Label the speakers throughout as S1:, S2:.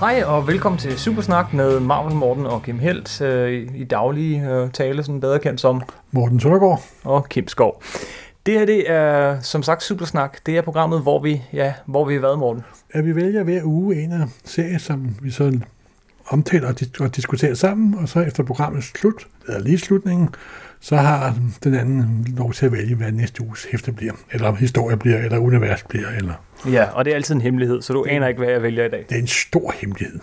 S1: Hej og velkommen til Supersnak med Marvel Morten og Kim Helt, øh, i daglige øh, tale, sådan bedre kendt som,
S2: Morten Søndergaard.
S1: og Kim Skov. Det her det er som sagt Supersnak, det er programmet, hvor vi, ja, hvor vi er været, Morten.
S2: At vi vælger hver uge en af serier, som vi så omtaler og, dis- og diskuterer sammen, og så efter programmets slut, eller lige slutningen, så har den anden lov til at vælge, hvad næste uges hæfte bliver, eller historie bliver, eller univers bliver, eller...
S1: Ja, og det er altid en hemmelighed, så du aner ikke, hvad jeg vælger i dag.
S2: Det er en stor hemmelighed.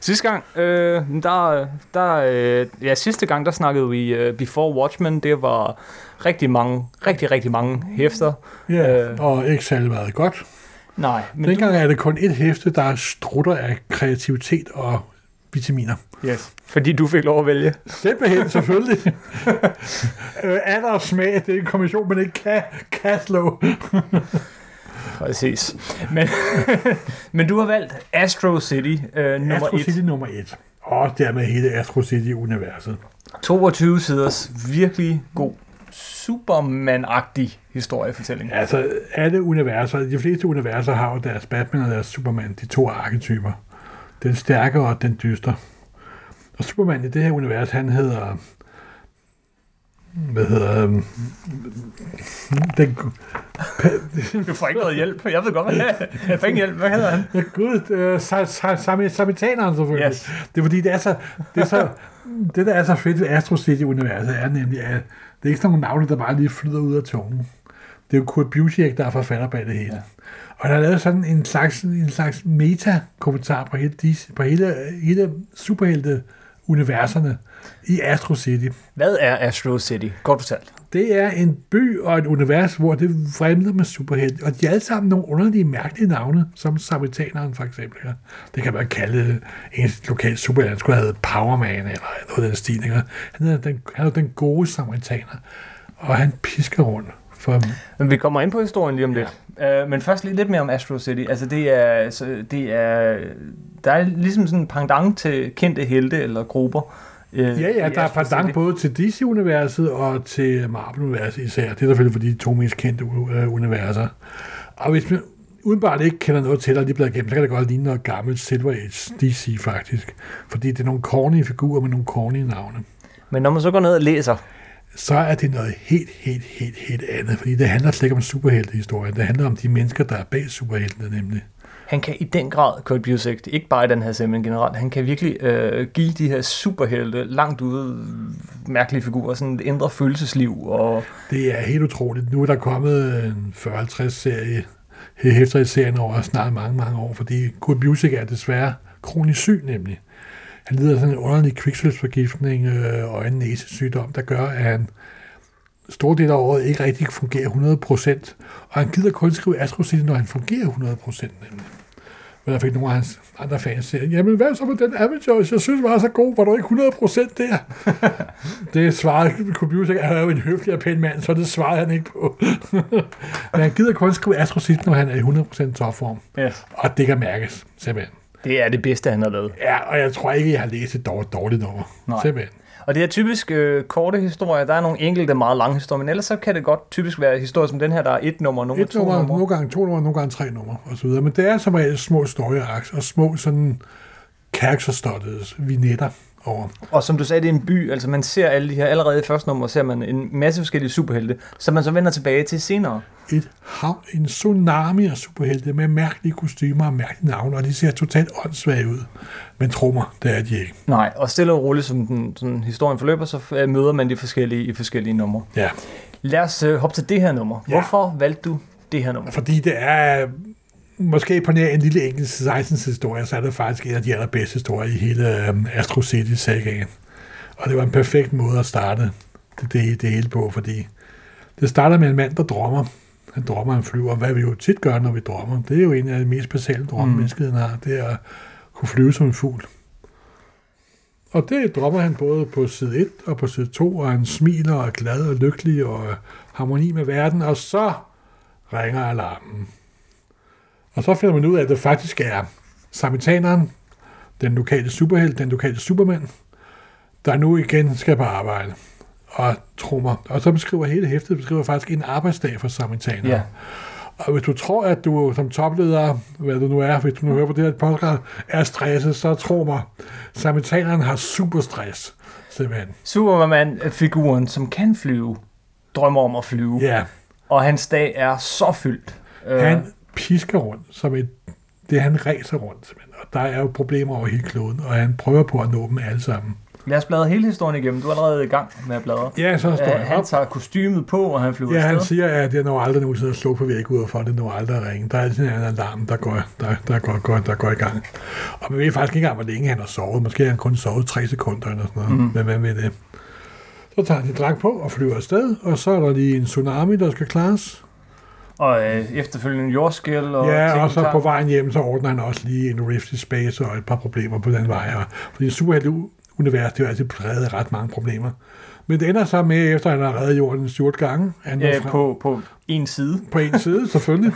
S1: Sidste gang, øh, der, der, øh, ja, sidste gang, der snakkede vi øh, Before Watchmen, det var rigtig mange, rigtig, rigtig mange hæfter.
S2: Ja,
S1: Øh.
S2: øh. og ikke særlig meget godt.
S1: Nej, men du,
S2: Dengang er det kun et hæfte, der strutter af kreativitet og vitaminer.
S1: yes, fordi du fik lov at vælge.
S2: Simpelthen, selvfølgelig. øh, alder og smag, det er en kommission, man ikke kan, kan slå.
S1: Præcis. Men, men du har valgt Astro City øh, nummer
S2: Astro
S1: 1.
S2: City nummer 1. Og dermed hele Astro City-universet.
S1: 22 siders virkelig god Superman-agtig historiefortælling.
S2: Altså, alle universer, de fleste universer har jo deres Batman og deres Superman, de to arketyper. Den stærke og den dystre. Og Superman i det her univers, han hedder... Hvad hedder... øhm, Den,
S1: Du får ikke noget hjælp. Jeg ved godt, hvad jeg får ingen hjælp. Hvad hedder han?
S2: Ja, gud, øh, sa- sa- sami- samitaneren selvfølgelig.
S1: Yes.
S2: Yes. Det er fordi, det er så, det, er så, det der er så fedt ved Astro City-universet, er nemlig, at det er ikke sådan nogle navne, der bare lige flyder ud af tungen. Det er jo Kurt Busiek, der er forfatter bag det hele. Ja. Og der er lavet sådan en slags, en slags meta-kommentar på hele, dis- på hele, hele superhelte-universerne i Astro City.
S1: Hvad er Astro City? Godt fortalt.
S2: Det er en by og et univers, hvor det vrimler med superhelte, og de er alle sammen nogle underlige, mærkelige navne, som Samaritaneren for eksempel. Ikke? Det kan man kalde en lokal superhelt, skulle have heddet Powerman eller noget af den stil. Ikke? Han er den, han er den gode Samaritaner, og han pisker rundt. For,
S1: Men vi kommer ind på historien lige om lidt. Ja. Øh, men først lige lidt mere om Astro City. Altså det er, så det er, der er ligesom sådan en pendant til kendte helte eller grupper. øh,
S2: ja, ja,
S1: i
S2: der er
S1: Astro
S2: pendant
S1: City.
S2: både til DC-universet og til Marvel-universet især. Det er selvfølgelig for de to mest kendte øh, universer. Og hvis man udenbart ikke kender noget til, og lige blevet gennem, så kan det godt ligne noget gammelt Silver Age DC faktisk. Fordi det er nogle corny figurer med nogle corny navne.
S1: Men når man så går ned og læser,
S2: Så er det noget helt, helt, helt, helt andet. Fordi det handler slet ikke om superheltehistorien. Det handler om de mennesker, der er bag superheltene nemlig.
S1: Han kan i den grad, Kurt Busiek, ikke bare i den her serie, men generelt, han kan virkelig øh, give de her superhelte langt ude øh, mærkelige figurer, sådan et indre følelsesliv. Og,
S2: Det er helt utroligt. Nu er der kommet en 40-50 serie, hæfter i serien over snart mange, mange år, fordi Kurt Busiek er desværre kronisk syg nemlig. Han lider af sådan en underlig kviksølvforgiftning øh, og en næsesygdom, der gør, at han store del af året ikke rigtig fungerer 100%, og han gider kun skrive Astro City, når han fungerer 100% nemlig. Men der fik nogle af hans andre fans til, jamen hvad så med den Avengers, jeg synes var så god, var du ikke 100% der? Det svarede computer, han er jo en høflig og pæn mand, så det svarede han ikke på. Men han gider kun skrive Astro City, når han er i 100% topform.
S1: yes.
S2: Og det kan mærkes, simpelthen.
S1: Det er det bedste, han har lavet.
S2: Ja, og jeg tror ikke, jeg har læst et dårligt, dårligt nummer.
S1: Nej.
S2: Simpelthen.
S1: Og det er typisk øh, korte historier. Der er nogle enkelte meget lange historier, men ellers så kan det godt typisk være historier som den her, der er et nummer, nummer,
S2: Et
S1: to
S2: nummer,
S1: nummer.
S2: nogle gange to nummer, nogle gange tre nummer, og så videre. Men det er som regel små story arcs, og små sådan character studies, vignetter over.
S1: Og som du sagde, det er en by. Altså man ser alle de her, allerede i første nummer ser man en masse forskellige superhelte, som man så vender tilbage til senere.
S2: et hav, en tsunami af superhelte med mærkelige kostymer og mærkelige navne, og de ser totalt åndssvage ud. Men tro mig, det er de ikke.
S1: Nej, og stille og roligt, som den, sådan, historien forløber, så øh, møder man de forskellige i forskellige numre.
S2: Ja.
S1: Lad os øh, hoppe til det her nummer. Ja.
S2: Ja.
S1: Hvorfor valgte du det her nummer?
S2: Fordi det er øh, måske på nær en lille enkelt Seisens historie, så er det faktisk en af de allerbedste historier i hele øhm, Astro city sagaen Og det var en perfekt måde at starte det, det, det hele på, fordi det starter med en mand, der drømmer. Han drømmer, han flyver. Hvad vi jo tit gør, når vi drømmer, det er jo en af de mest basale drømme,
S1: Mm.
S2: mm. menneskeheden har, det er at kunne flyve som en fugl. Og det drømmer han både på side 1 og på side 2, og han smiler og er glad og lykkelig og øh, harmoni med verden, og så ringer alarmen. Og så finder man ud af, at det faktisk er samitaneren, den lokale superhelt, den lokale supermand, der nu igen skal på arbejde og trummer. Og så beskriver hele hæftet beskriver faktisk en arbejdsdag for samaritaneren.
S1: Ja.
S2: Og hvis du tror, at du som topleder, hvad du nu er, hvis du nu hører på det her podcast, er stresset, så tro mig, samaritaneren har super stress, simpelthen.
S1: Superman-figuren, øh, som kan flyve, drømmer om at flyve.
S2: Ja,
S1: Og hans dag er så fyldt. Øh,
S2: han pisker rundt som et det er, han ræser rundt, simpelthen. og der er jo problemer over hele kloden, og han prøver på at nå dem alle sammen.
S1: Lad os bladre hele historien igennem. Du er allerede i gang med at bladre.
S2: Ja, så står
S1: Øh,
S2: jeg op.
S1: han tager kostymet på, og han flyver
S2: Ja, han
S1: afsted.
S2: siger, at jeg når aldrig nogensinde at slå på væg ud for det når aldrig at ringe. Der er altid en anden alarm, der går, der, der, går, går, der går i gang. Og man ved faktisk ikke engang, hvor længe han har sovet. Måske har han kun sovet tre sekunder eller sådan noget.
S1: Mhm.
S2: Mm. Men hvad med det? Så tager de drag på og flyver afsted, og så er der lige en tsunami, der skal klares.
S1: Og øh, efterfølgende jordskæl. Og
S2: Ja,
S1: ting
S2: og så
S1: tager-
S2: på vejen hjem, så ordner han også lige en rift i space og et par problemer på den vej. Og- Fordi superhelte-universet er jo altid præget af ret mange problemer. Men det ender så med, efter han har reddet jorden 7 gange, at han er
S1: øh,
S2: frem-
S1: på, på en side.
S2: på en side, selvfølgelig.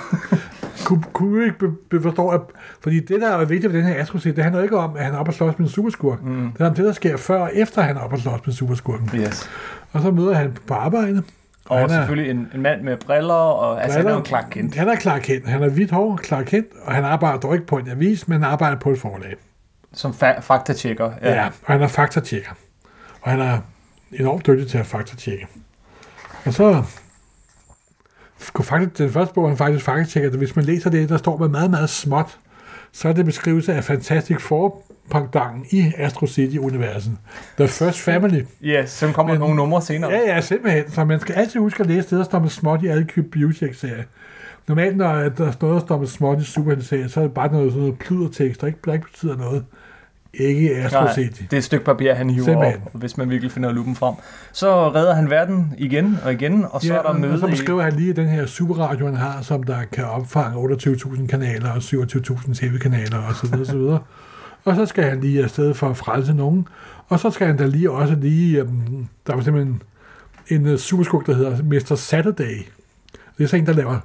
S2: kunne, kunne jo ikke be, be, forstå, at, fordi det, der er vigtigt ved den her astro det handler jo ikke om, at han er oppe og slås med en superskurk. Mm. Det er om det, der sker før og efter, han er oppe og slås med superskurken.
S1: Yes.
S2: Og så møder han på arbejde.
S1: Og
S2: han er-
S1: selvfølgelig en, en mand med briller, og altså, han er jo en Clark Kent.
S2: Han er Clark Kent. Han har hvidt hår, Clark Kent, og han arbejder dog ikke på en avis, men han arbejder på et forlag.
S1: som fa- faktatjekker.
S2: Ja. ja og han er faktatjekker. Og han er enormt dygtig til at faktatjekke. Og så kunne faktisk, den første bog, han faktisk faktatjekker, at hvis man læser det, der står med meget, meget småt, så er det beskrivelse af Fantastic Four pangdangen i Astro City-universet. The First Family.
S1: Ja, så kommer Men, nogle numre senere. Ja,
S2: Ja, ja, simpelthen. Så man skal altid huske at læse det, der står med småt i alle Cube Beauty-serier. Normalt, når der står noget, der står med småt i superhelteserier, så er det bare noget, sådan noget plydertekst, der ikke, der ikke betyder noget. Ikke i Astro
S1: Nej,
S2: City.
S1: det er et stykke papir, han hiver
S2: Simpelthen.
S1: op, hvis man virkelig finder lupen frem. Så redder han verden igen og igen, og så er der
S2: og-
S1: møde
S2: og så
S1: i...
S2: beskriver han lige den her superradio, han har, som der kan opfange 28.000 kanaler og 27.000 tv-kanaler osv. Og, så videre, så videre. og så skal han lige afsted for at frelse nogen. Og så skal han da lige også lige... Øhm, der var simpelthen en øh, superskug, der hedder Mr. Saturday. Det er så en, der laver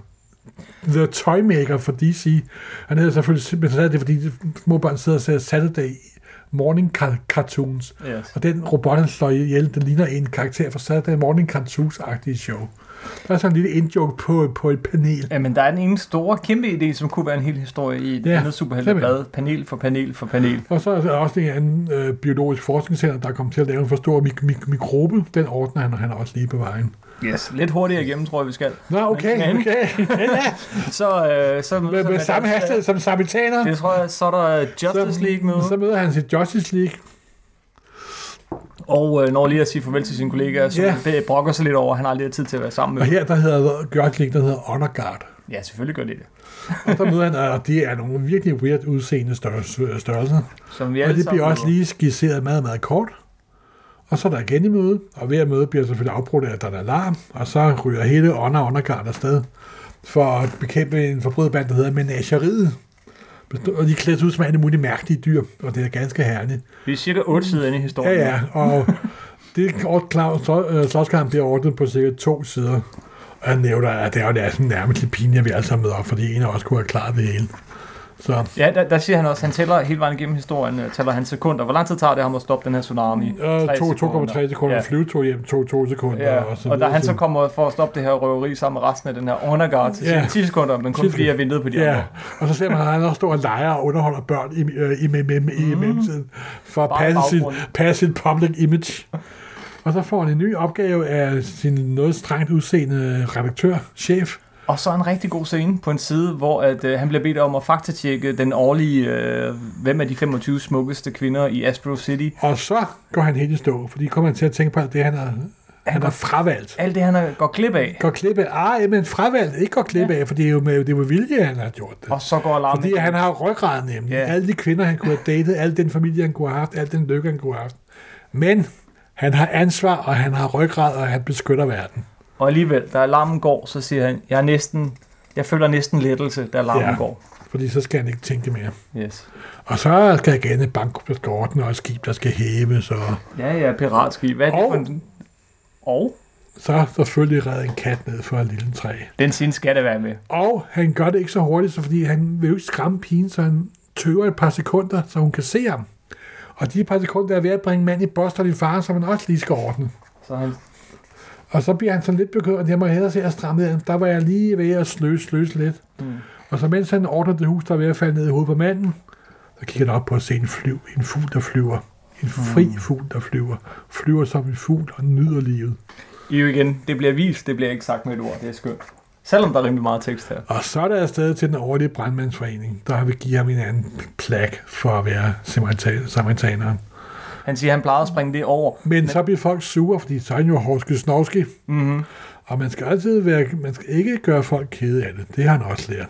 S2: The Toy Maker for DC. Han hedder selvfølgelig Mr. Saturday, fordi de små børn sidder og ser Saturday morning car- cartoons.
S1: Yes.
S2: Og den robot, han slår ihjel, den ligner en karakter fra Saturday Morning Cartoons-agtige show. Der er sådan en lille indjoke på, på et panel.
S1: Ja, men der er den ene store, kæmpe idé, som kunne være en hel historie i et
S2: Ja,
S1: ja, andet superhelteblad. Panel for panel for panel.
S2: Og så er der også en anden øh, biologisk forskningscenter, der kommer til at lave en for stor mik- mik- mikrobe. Den ordner han, og han er også lige på vejen.
S1: Yes. Lidt hurtigere igennem, tror jeg, vi skal.
S2: Nå, okay,
S1: Men-
S2: okay.
S1: Så, øh, så
S2: Med,
S1: mødes
S2: med
S1: han
S2: samme
S1: deres-
S2: hastighed som samaritaner.
S1: Det tror jeg, så er der Justice League med.
S2: Så møder han sit Justice League.
S1: Og øh, når lige at sige farvel til sine kollegaer, som
S2: Ja.
S1: yeah. brokker sig lidt over, at han aldrig har tid til at være sammen med.
S2: Og
S1: dem.
S2: her, der hedder Justice League, der hedder Honor Guard.
S1: Ja, selvfølgelig gør det det.
S2: Og der møder han, og det er nogle virkelig weird udseende størrelser. størrelser.
S1: Som vi
S2: Ja, og
S1: alle
S2: det bliver
S1: sammen
S2: også
S1: møder.
S2: lige skitseret meget, meget kort. Og så er der igen i møde, og hver møde bliver selvfølgelig afbrudt af, at der er en alarm, og så ryger hele ånder og undergard afsted for at bekæmpe en forbryderband, der hedder Menageriet. Bestå- Og de klæder sig ud som alle mulige mærkelige dyr, og det er ganske herligt.
S1: Vi er cirka 8 sider inde i historien.
S2: Ja, ja, og det er slåskamp bliver ordnet på cirka to sider. Og jeg nævner, at det er jo næsten nærmest lidt pinligt, at vi alle sammen møder op, fordi en af os kunne have klaret det hele. Så
S1: Ja, der, der siger han også, han tæller hele vejen igennem historien, øh, tæller han sekunder. Hvor lang tid tager det ham at stoppe den her tsunami? Tre
S2: Øh, to- 2,3 sekunder,
S1: Ja.
S2: ja. flyve tog hjem 2 sekunder.
S1: Ja,
S2: og,
S1: og da han så kommer for at stoppe det her røveri sammen med resten af den her underguard, så siger
S2: Ja.
S1: han 10 sekunder, men kun
S2: 10
S1: fordi jeg ventede på de
S2: Ja,
S1: andre.
S2: og så ser man, at han også står og leger og underholder børn i, øh, i, i, i, i mellemtiden, for at
S1: Mm. Bare
S2: passe sit,
S1: baggrunden.
S2: passe sit public image. Og så får han en ny opgave af sin noget strengt udseende redaktør, chef.
S1: Og så en rigtig god scene på en side, hvor at, øh, han bliver bedt om at faktatjekke den årlige, øh, hvem er de 25 smukkeste kvinder i Astro City.
S2: Og så går han helt i stå, fordi kommer han til at tænke på alt det, han har, han har fravalgt.
S1: Alt det, han har- går glip af,
S2: Går klip af, ah, men fravalgt, ikke går klip af, for det er jo med, det er med vilje, han har gjort det.
S1: og så går alarmen.
S2: Fordi han har ryggrad nemlig.
S1: Ja.
S2: Yeah. Alle de kvinder, han kunne have datet, al den familie, han kunne have haft, al den lykke, han kunne have haft. Men han har ansvar, og han har ryggrad, og han beskytter verden.
S1: Og alligevel, da alarmen går, så siger han, jeg, er næsten, jeg føler næsten lettelse, da alarmen
S2: Ja.
S1: går.
S2: Fordi så skal han ikke tænke mere.
S1: Yes.
S2: Og så skal jeg gerne et bank, der skal ordne, og et skib, der skal hæves, og
S1: Ja, ja, piratskib. Hvad er det
S2: Og-
S1: for en... Og
S2: så er selvfølgelig redde en kat ned fra et lille træ.
S1: den scene skal der være med.
S2: Og han gør det ikke så hurtigt, så fordi han vil jo ikke skræmme pigen, så han tøver et par sekunder, så hun kan se ham. Og de par sekunder er ved at bringe mand i bost og din far, som han også lige skal ordne.
S1: Så han,
S2: Og så bliver han sådan lidt bekymret, jeg må hellere se at stramme Der var jeg lige ved at sløse, sløse lidt. Mm. Og så mens han ordner det hus, der er ved at falde ned i hovedet på manden, så kigger han op på at se en, flyv, en fugl, der flyver. En fri mm. fugl, der flyver. Flyver som en fugl og nyder livet.
S1: I jo igen, det bliver vist, det bliver ikke sagt med et ord, det er skønt. Selvom der er rimelig meget tekst her.
S2: Og så er der afsted til den årlige brandmandsforening, der vil give ham en anden plak for at være samarita- samaritaneren.
S1: Han siger, han plejede at springe det over.
S2: Men, men så bliver folk sure, fordi så er han jo hårdske snovske.
S1: Mm-hmm.
S2: Og man skal altid være, man skal ikke gøre folk kede af det. Det har han også lært.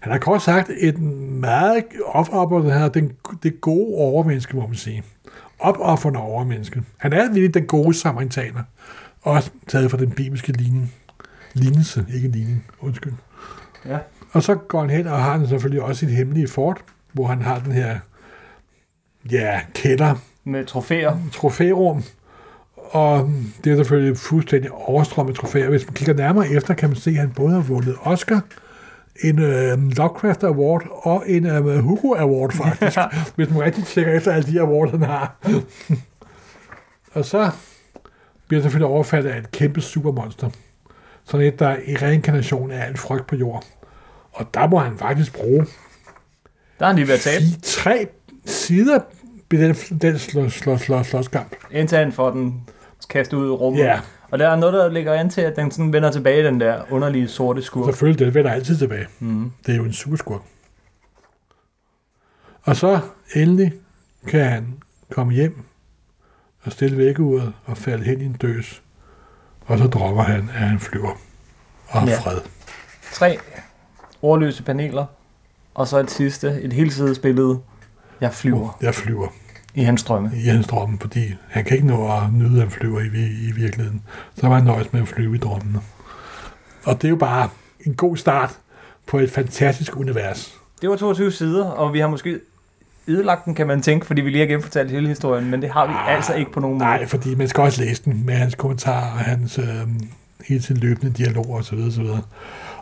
S2: Han har kort sagt et meget opoffrende her, den, det gode overmenneske, må man sige. Opoffrende overmenneske. Han er virkelig den gode samaritaner. Også taget fra den bibelske ligning. Lignelse, ikke ligning. Undskyld.
S1: Ja.
S2: Og så går han hen, og har han selvfølgelig også sit hemmelige fort, hvor han har den her ja, kælder,
S1: Med trofæer.
S2: trofærum, og det er selvfølgelig fuldstændig overstrømmet trofæer. Hvis man kigger nærmere efter, kan man se, at han både har vundet Oscar, en øh, Lovecraft Award og en øh, Hugo Award, faktisk. Ja. Hvis man rigtig tjekker efter alle de awards, han har. og så bliver han selvfølgelig overfaldet af et kæmpe supermonster. Sådan et, der er i reinkarnation af alt frygt på jord. Og der må han faktisk bruge
S1: Der er han lige ved at tabe,
S2: de tre sider ved den, den slås, slås, slås, slåskamp.
S1: indtil han får den kastet ud i rummet.
S2: Ja.
S1: Og der er noget, der ligger an til, at den sådan vender tilbage, den der underlige sorte skurk. Mhm.
S2: Selvfølgelig, den vender altid tilbage. Mm. Det er jo en superskurk. Og så endelig kan han komme hjem og stille vækkeuret og falde hen i en døs. Og så dropper han, at han flyver. Og
S1: Ja.
S2: ja. fred.
S1: Tre ordløse paneler, og så et sidste, et helsidesbillede. Jeg flyver
S2: Jeg flyver
S1: i hans drømme.
S2: i hans drømme, fordi han kan ikke nå at nyde, at han flyver i, vi- i virkeligheden. Så var han nøjes med at flyve i drømmene. Og det er jo bare en god start på et fantastisk univers.
S1: Det var 22 sider, og vi har måske ødelagt den, kan man tænke, fordi vi lige har genfortalt hele historien, men det har vi
S2: Ah,
S1: altså ikke på nogen måde.
S2: Nej, fordi man skal også læse den med hans kommentarer og hans øh, hele tiden løbende dialoger osv. osv.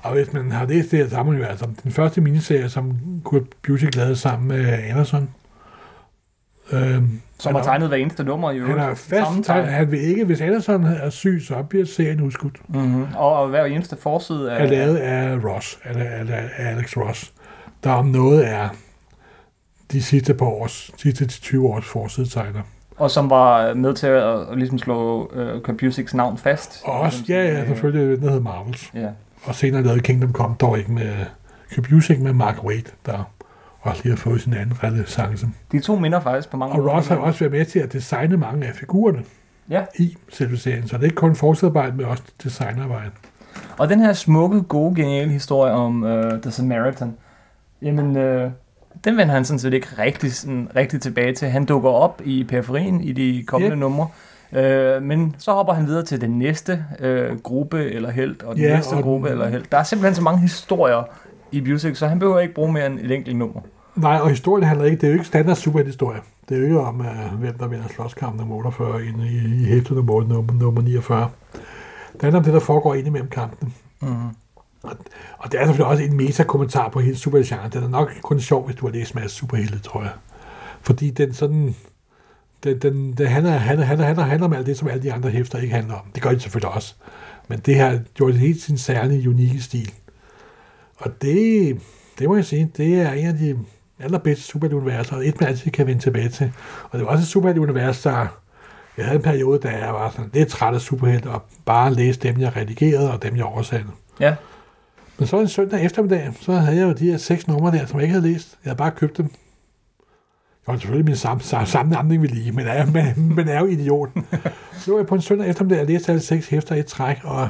S2: Og hvis man har læst det her, så har man jo altså den første miniserie, som Kurt Busiek lavede sammen med Anderson. Øh,
S1: Som har tegnet hver eneste nummer i
S2: han
S1: øvrigt.
S2: har fast tegnet, han vil ikke, hvis Anderson er syg, så bliver serien udskudt.
S1: Mm-hmm. Og, og hver eneste forside
S2: Er
S1: af...
S2: lavet af Ross, eller, eller af Alex Ross, der om noget er de sidste par års, sidste 20 års forsidetegner.
S1: Og som var med til at, at ligesom slå uh, Compusics navn fast. Øh,
S2: Og også, ja, ja, selvfølgelig, den hedder Marvels.
S1: Ja.
S2: Og senere lavede Kingdom Come dog ikke med Kubusik, men Mark Waid, der også lige har fået sin anden renaissance.
S1: De to minder faktisk på mange
S2: Og Ross har
S1: måder.
S2: også været med til at designe mange af figurerne
S1: Ja.
S2: i selve serien, så det er ikke kun forsarbejde, men også designarbejde.
S1: Og den her smukke, gode, geniale historie om uh, The Samaritan, jamen, uh, den vender han sådan set ikke rigtig, sådan, rigtig tilbage til. Han dukker op i periferien i de kommende
S2: Ja.
S1: numre, uh, men så hopper han videre til den næste uh, gruppe eller held, og den
S2: Ja,
S1: næste
S2: og
S1: gruppe
S2: den-
S1: eller held. Der er simpelthen så mange historier i Music, så han behøver ikke bruge mere end et enkelt nummer.
S2: Nej, og historien handler ikke, det er jo ikke standard superhistorie. Det er jo ikke om, uh, hvem der vinder slåskampen om 48 inde i, i hæftet nummer, nummer, nummer 49. Det handler om det, der foregår inde imellem kampen.
S1: Mm.
S2: Mhm. Og det er selvfølgelig også en meta-kommentar på hele supergenren. Den er nok kun sjov, hvis du har læst masser superhelte, tror jeg. Fordi den sådan... Den, den, den handler, handler, handler, handler, handler om alt det, som alle de andre hæfter ikke handler om. Det gør de selvfølgelig også. Men det her gjorde det helt sin særlige, unikke stil. Og det, det må jeg sige, det er en af de allerbedste superhelte-universer, og et man altid kan vende tilbage til. Og det var også et superhelte-univers, der... Jeg havde en periode, da jeg var sådan lidt træt af superhelte, og bare læste dem, jeg redigerede, og dem, jeg oversatte.
S1: Ja,
S2: Men så en søndag eftermiddag, så havde jeg jo de her seks numre der, som jeg ikke havde læst. Jeg havde bare købt dem. Jeg var selvfølgelig min sam, sam, sammenligning ved lige, men er, men, men er jo idiot. Så var jeg på en søndag eftermiddag, og læste alle seks hæfter i et træk, og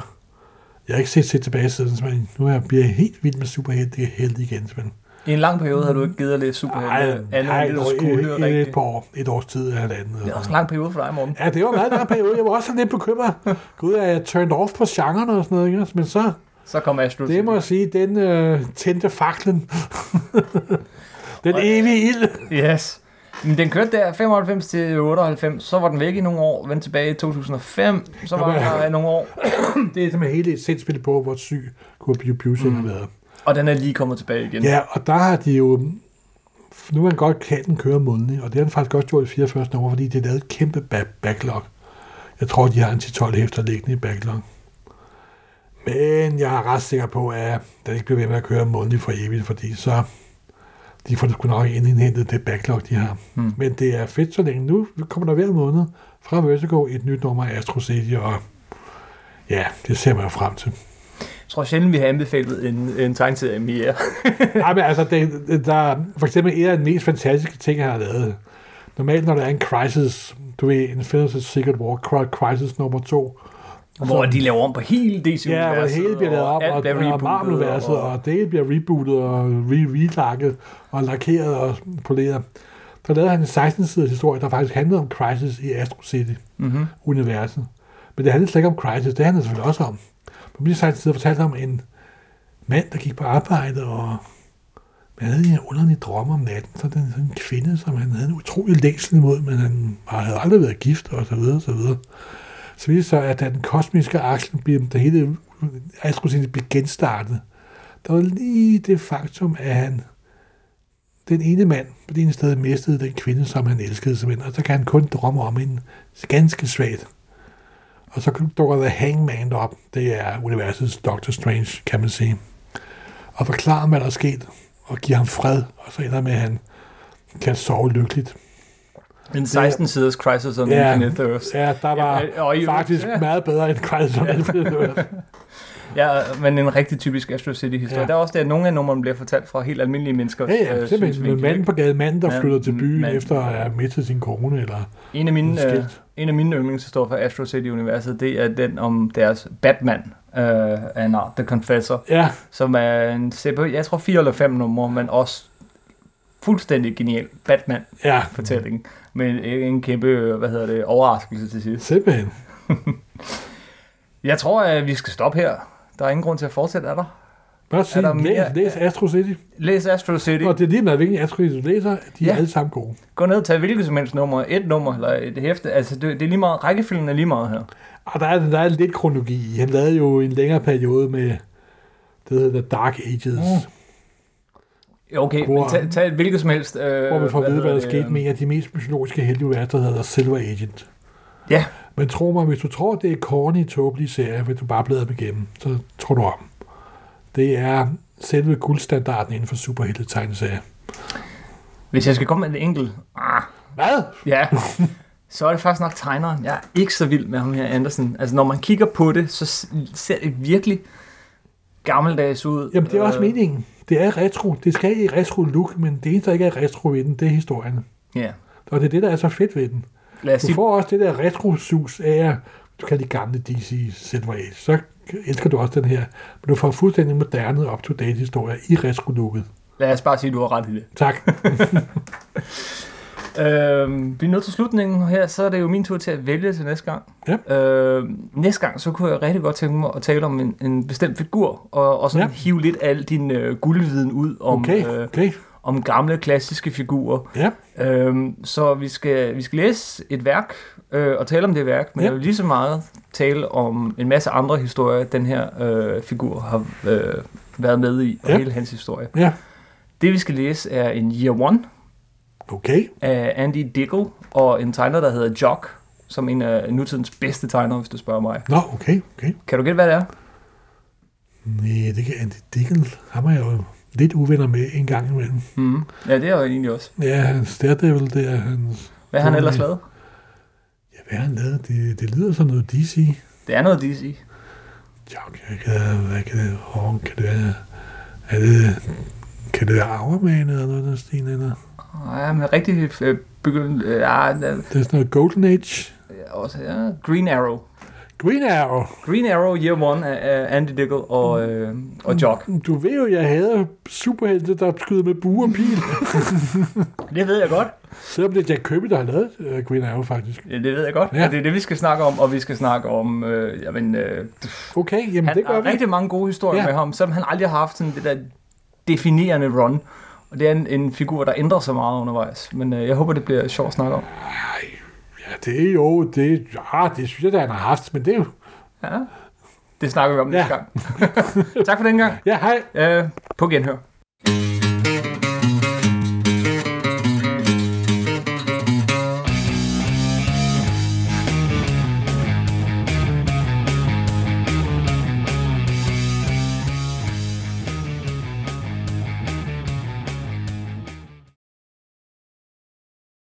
S2: jeg har ikke set, set tilbage siden, så man- nu er jeg bliver jeg helt vild med superhelte helt igen. Men,
S1: i en lang periode har du ikke givet at læse
S2: ej,
S1: Superhelte,
S2: ej,
S1: andet end
S2: et,
S1: det, du
S2: år-
S1: skulle høre
S2: et, et, et,
S1: rigtigt.
S2: par år, et års tid eller andet.
S1: Det er også en lang periode for dig, Morten.
S2: Ja, det var en meget lang periode. Jeg var også sådan lidt bekymret. Gud, er jeg turned off på genren og sådan noget, ikke? men så
S1: Så kom Astro
S2: Det må jeg sige, den øh, tændte faklen. den
S1: Og-
S2: evige ild.
S1: Yes. Men den kørte der 95 til 98, så var den væk i nogle år, vendte tilbage i 2005, så var den
S2: Jamen,
S1: der i nogle år,
S2: Det er simpelthen hele et sindspil på, hvor syg Kurt Busiek har været.
S1: og den er lige kommet tilbage igen.
S2: Ja, og der har de jo... Nu er han godt kan den køre månedlig, og det har han faktisk også gjort i 44. nummer, fordi det lavede et kæmpe ba- backlog. Jeg tror, de har en 10-12 hæfter liggende i backlog. Men jeg er ret sikker på, at der ikke bliver ved med at køre månedligt for evigt, fordi så de får sgu nok indhentet det backlog, de har. Mm. Men det er fedt så længe. Nu kommer der hver måned fra Vertigo et nyt nummer af Astro City, og ja, det ser man jo frem til.
S1: Jeg tror sjældent, vi har anbefalet en, en tegneserie mere.
S2: Nej, men altså, det, der, for eksempel en af de mest fantastiske ting, jeg har lavet. Normalt, når der er en crisis, du ved, en Infinity Secret War, crisis nummer to,
S1: hvor de laver om på hele DC-universet.
S2: Ja, hvor det hele bliver lavet om, og, og, bliver og Marvel-universet, og, og det bliver rebootet, og relakket, og lakeret og poleret. Der lavede han en 16-siders historie, der faktisk handlede om Crisis i Astro
S1: Mhm.
S2: City-universet. Mm-hmm. Men det handlede slet ikke om Crisis, det handlede selvfølgelig også om. På min 16 sider fortalte om en mand, der gik på arbejde, og man havde en underlig drøm om natten, så den sådan en kvinde, som han havde en utrolig længsel imod, men han havde aldrig været gift, og så videre, og så videre så viser det sig, at da den kosmiske aksel bliver, der hele astrocinet blev genstartet, der var lige det faktum, at han, den ene mand på det ene sted mistede den kvinde, som han elskede som og så kan han kun drømme om hende ganske svagt. Og så dukker The Hangman op, det er universets Doctor Strange, kan man sige, og forklarer, hvad der er sket, og giver ham fred, og så ender med, at han kan sove lykkeligt.
S1: En 16-siders Crisis on ja, Infinite Earths.
S2: Ja, der var ja, og, og, faktisk øh, ja. meget bedre end Crisis on ja. Infinite Earths.
S1: ja, men en rigtig typisk Astro City-historie. Ja. Der er også det, at nogle af numrene bliver fortalt fra helt almindelige mennesker.
S2: Ja, ja, øh, simpelthen. Med manden på gaden, manden, der ja, flytter til byen mand. efter at have mistet sin kone eller
S1: en af mine, øh, en af mine yndlingshistorier fra Astro City-universet, det er den om deres Batman, øh, af en art, The Confessor,
S2: ja.
S1: som er en, jeg tror, fire eller fem numre, men også fuldstændig genial Batman-fortælling. Ja. Men en kæmpe, hvad hedder det, overraskelse til sidst.
S2: Simpelthen.
S1: jeg tror, at vi skal stoppe her. Der er ingen grund til at fortsætte, er der?
S2: Bare sig, er der læs, mere? læs Astro City.
S1: Læs Astro City.
S2: Og det er lige meget, hvilken Astro City du læser, de ja. er alle sammen gode.
S1: Gå ned og tag hvilket som helst nummer, et nummer eller et hæfte. Altså, det, det er lige meget, rækkefølgen er lige meget her.
S2: Og der er, der er lidt kronologi. Han lavede jo en længere periode med, det hedder The Dark Ages. Mm.
S1: Okay, hvor, men tag, tag hvilket som helst.
S2: Øh, hvor man får at vide, hvad der skete med en af de mest mytologiske helte, der hedder Silver Agent.
S1: Ja.
S2: Men tro mig, hvis du tror, det er corny, tåbelige serie, hvis du bare bladrer dem igennem, så tror du om. Det er selve guldstandarden inden for superhelte-tegneserier.
S1: Hvis jeg skal komme med en enkelt... Ah,
S2: hvad?
S1: Ja, så er det faktisk nok tegneren. Jeg er ikke så vild med ham her, Andersen. Altså, når man kigger på det, så ser det virkelig gammeldags ud.
S2: Jamen, det er også øh, meningen det er retro. Det skal i retro look, men det eneste, der ikke er retro ved den, det er historien.
S1: Ja. Yeah.
S2: Og det er det, der er så fedt ved den. Lad
S1: Altså,
S2: os du får også det der retro-sus af, du kan de gamle DC Silver Age, så elsker du også den her. Men du får fuldstændig moderne, up-to-date historie i retro-looket.
S1: Lad os bare sige, at du har ret i det.
S2: Tak.
S1: øhm, vi er nået til slutningen her, så er det jo min tur til at vælge til næste gang.
S2: Ja.
S1: Øhm, næste gang, så kunne jeg rigtig godt tænke mig at tale om en, en bestemt figur, og, og sådan ja. hive lidt al din øh, guldviden ud om,
S2: okay, okay. Øh,
S1: om gamle, klassiske figurer.
S2: Ja.
S1: Øhm, så vi skal, vi skal læse et værk, øh, og tale om det værk, men ja. jeg vil lige så meget tale om en masse andre historier, den her øh, figur har øh, været med i, og ja. hele hans historie.
S2: Ja.
S1: Det vi skal læse er en Year One,
S2: Okay.
S1: af Andy Dickel og en tegner, der hedder Jock, som en af nutidens bedste tegnere, hvis du spørger mig.
S2: Nå, okay, okay.
S1: Kan du gætte, hvad det er?
S2: Nej, det kan Andy Dickel. Ham er jeg jo lidt uvenner med en gang imellem.
S1: Mm. Ja, det er jeg jo egentlig også.
S2: Ja, hans Daredevil, det er hans...
S1: Hvad har han ellers lavet?
S2: Ja, hvad har han lavet? Det, det lyder som noget DC.
S1: Det er noget DC.
S2: Jock, jeg kan... Hvad kan det... Hvor kan det være? Er det... Kan det være Hourman eller noget, der stiger eller?
S1: Ja, men rigtig øh, begyndt... Øh, øh, det
S2: er sådan noget Golden Age.
S1: Ja, også, ja. Green Arrow.
S2: Green Arrow.
S1: Green Arrow Year One af Andy Dickel og, øh, og Jock.
S2: Du ved jo, jeg hader superhelte, der skyder med bue og pil.
S1: Mm. det ved jeg godt.
S2: Selvom det er Jack Kirby, der har lavet uh, Green Arrow, faktisk.
S1: Ja, det ved jeg godt. Ja. Og det er det, vi skal snakke om, og vi skal snakke om... Øh, jamen, øh,
S2: okay, jamen
S1: han
S2: det gør
S1: har
S2: vi.
S1: rigtig mange gode historier ja. med ham, som han aldrig har haft sådan det der definerende run. Og det er en, en figur, der ændrer sig meget undervejs. Men øh, jeg håber, det bliver sjovt at snakke om.
S2: Ej, ja, det er jo... Det, ja, det synes jeg, der han har haft, men det er jo...
S1: Ja, det snakker vi om ja. næste gang. tak for den gang.
S2: Ja, hej.
S1: Øh, på genhør.